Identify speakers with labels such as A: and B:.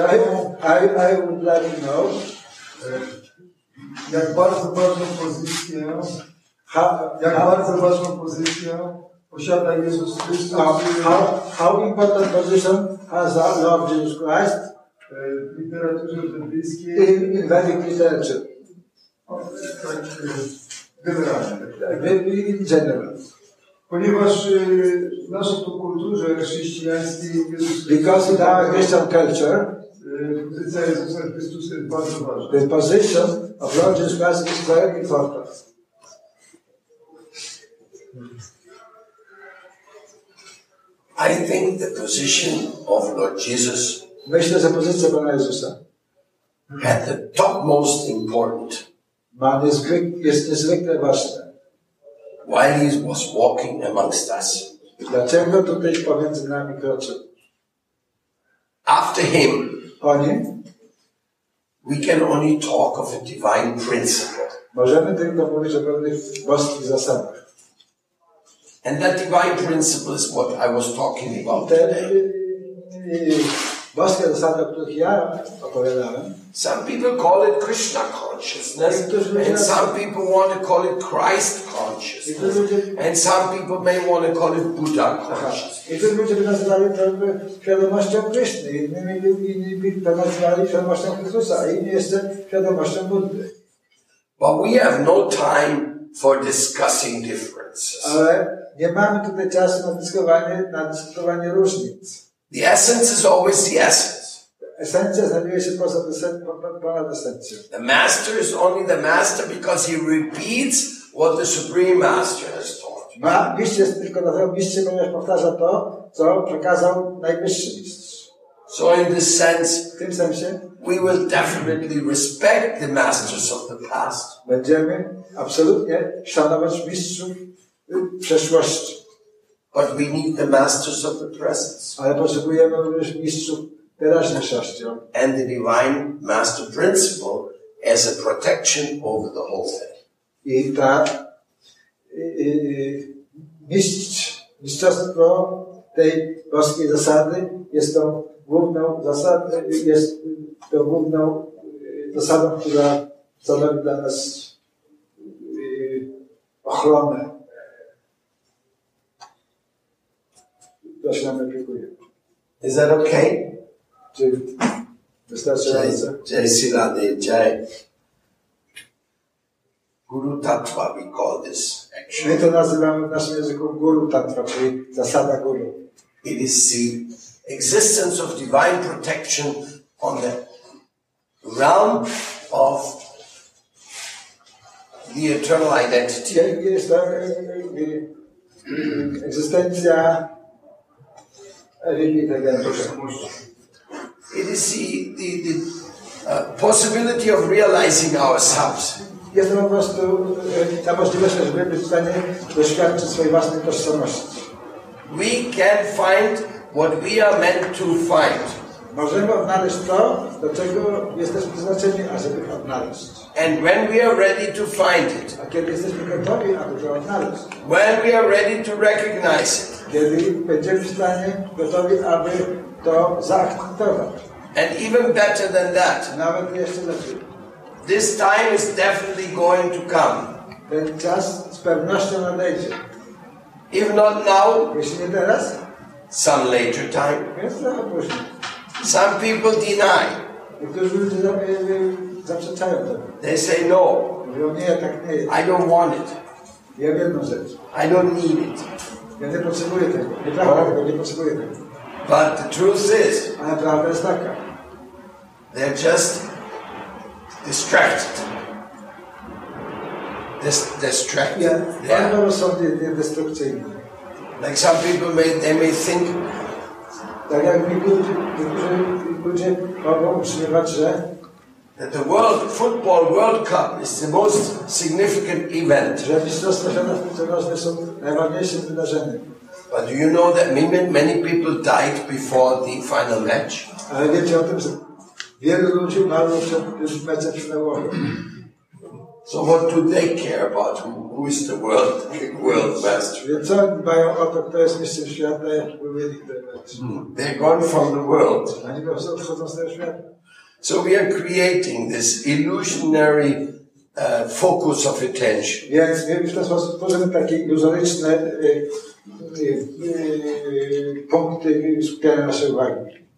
A: I, I, I would like to know, e, jak bardzo ważną pozycję,
B: how,
A: jak
B: how,
A: bardzo ważną pozycję posiada Jezus Chrystus.
B: how, how, how important position has our Lord Jesus Christ
A: e, w literaturze brytyjskiej,
B: in, in Vedic literature,
A: o, tak e, generalnie.
B: maybe in general?
A: Ponieważ e, w naszej tu kulturze chrześcijańskiej Jezus
B: Because in our
A: Chrystus,
B: Christian culture,
A: e, pozycja Jezusa Chrystusa jest bardzo ważna.
B: the position of Lord Jesus Christ is very important.
C: I think the position of Lord Jesus
B: Myślę, że pozycja Pana Jezusa
C: had the topmost important
B: ma niezwyk, jest niezwykle ważna.
C: while he was walking amongst us.
B: Dlaczego tutaj pomiędzy nami kroczy?
C: After him,
B: O nim
C: we can only talk of a divine principle.
B: możemy tylko mówić o pewnych boskich zasadach.
C: And that divine principle is what I was talking about
B: Te
C: today.
B: y, y, boskie zasady, o których ja opowiadałem,
C: Some people call it Krishna consciousness, and some people want to call it Christ consciousness, and some people may want to call it Buddha consciousness.
B: I tu ludzie by nazywali to jakby świadomością Kryszny, inni, by- inni by to nazywali świadomością Chrystusa, a inni jeszcze świadomością Buddy.
C: But we have no time for discussing differences.
B: Ale nie mamy tutaj czasu na dyskutowanie, na dyskutowanie różnic.
C: The essence is always the essence.
B: Esencja znajduje się poza desen- po- po- ponad esencją.
C: The master is only the master because he repeats what the supreme master has taught.
B: Ma mistrz jest tylko dlatego mistrzem, ponieważ powtarza to, co przekazał najwyższy mistrz.
C: So in this sense,
B: W tym sensie
C: we will definitely respect the masters of the past.
B: będziemy absolutnie szanować mistrzów y, przeszłości,
C: But we need the masters of the presence
B: ale potrzebujemy również mistrzów teraźniejszości.
C: and the divine master principle as a protection over the whole thing.
B: I ta y, y, mistrz, mistrzostwo tej boskiej zasady jest tą główną zasadą, jest tą główną y, zasadą, która stanowi dla nas y, ochronę. To się nam aplikuje.
C: Is that okay?
B: Czy wystarczająco?
C: Jai, Jai Sirade, Jai Guru Tattva, we call this
B: My
C: actually.
B: to nazywamy w naszym języku guru tantra, czyli zasada guru.
C: It is the existence of divine protection on the realm of the eternal identity.
B: Jak jest to e, e, e, egzystencja religii tak jak mówię.
C: It is the, the, the uh, possibility of realizing ourselves.
B: Jest to po prostu e, ta możliwość, żeby być w stanie doświadczyć swojej własnej tożsamości.
C: We can find what we are meant to find
B: Możemy odnaleźć to, do czego jesteśmy przeznaczeni, ażeby odnaleźć.
C: and when we are ready to find it,
B: A kiedy jesteśmy gotowi, aby to odnaleźć,
C: when we are ready to recognize it,
B: kiedy będziemy w stanie gotowi, aby to zaakceptować.
C: and even better than
B: A
C: that,
B: nawet jeszcze lepiej.
C: this time is definitely going to come.
B: Ten czas z pewnością nadejdzie.
C: If not now,
B: Jeśli nie teraz,
C: some later time.
B: więc trochę później.
C: Some people deny.
B: Niektórzy ludzie za- y, y, zaprzeczają temu.
C: They say, no,
B: Mówią, nie, tak nie jest.
C: I don't want it.
B: Ja wiem jedną rzecz.
C: I don't need it.
B: Ja nie potrzebuję tego. Nieprawda tego, nie potrzebuję tego.
C: But the truth is,
B: Ale prawda jest taka.
C: They're just distracted. Dis- distracted.
B: Ja
C: Yeah.
B: bardzo rozsądnie destrukcyjny.
C: Like some people may they may think,
B: Tak jak niektórzy, niektórzy ludzie mogą utrzymywać, że,
C: that the World Football World Cup is the most significant event.
B: że mistrzostwa świata piłkarskie są najważniejszym wydarzeniem.
C: But do you know that many, many people died before the final match?
B: Ale wiecie o tym, że wielu ludzi marło przed tym meczem finałowym.
C: So what do they care about? Who who is the world world master?
B: Więc co oni dbają o to, kto jest mistrzem świata, jak powiedzieli, kto jest.
C: They're gone from the world.
B: Oni po prostu odchodzą z tego świata.
C: So we are creating this illusionary uh, focus of attention.
B: Więc my w ten sposób tworzymy takie iluzoryczne y, e, y, e, e, punkty skupiania naszej uwagi.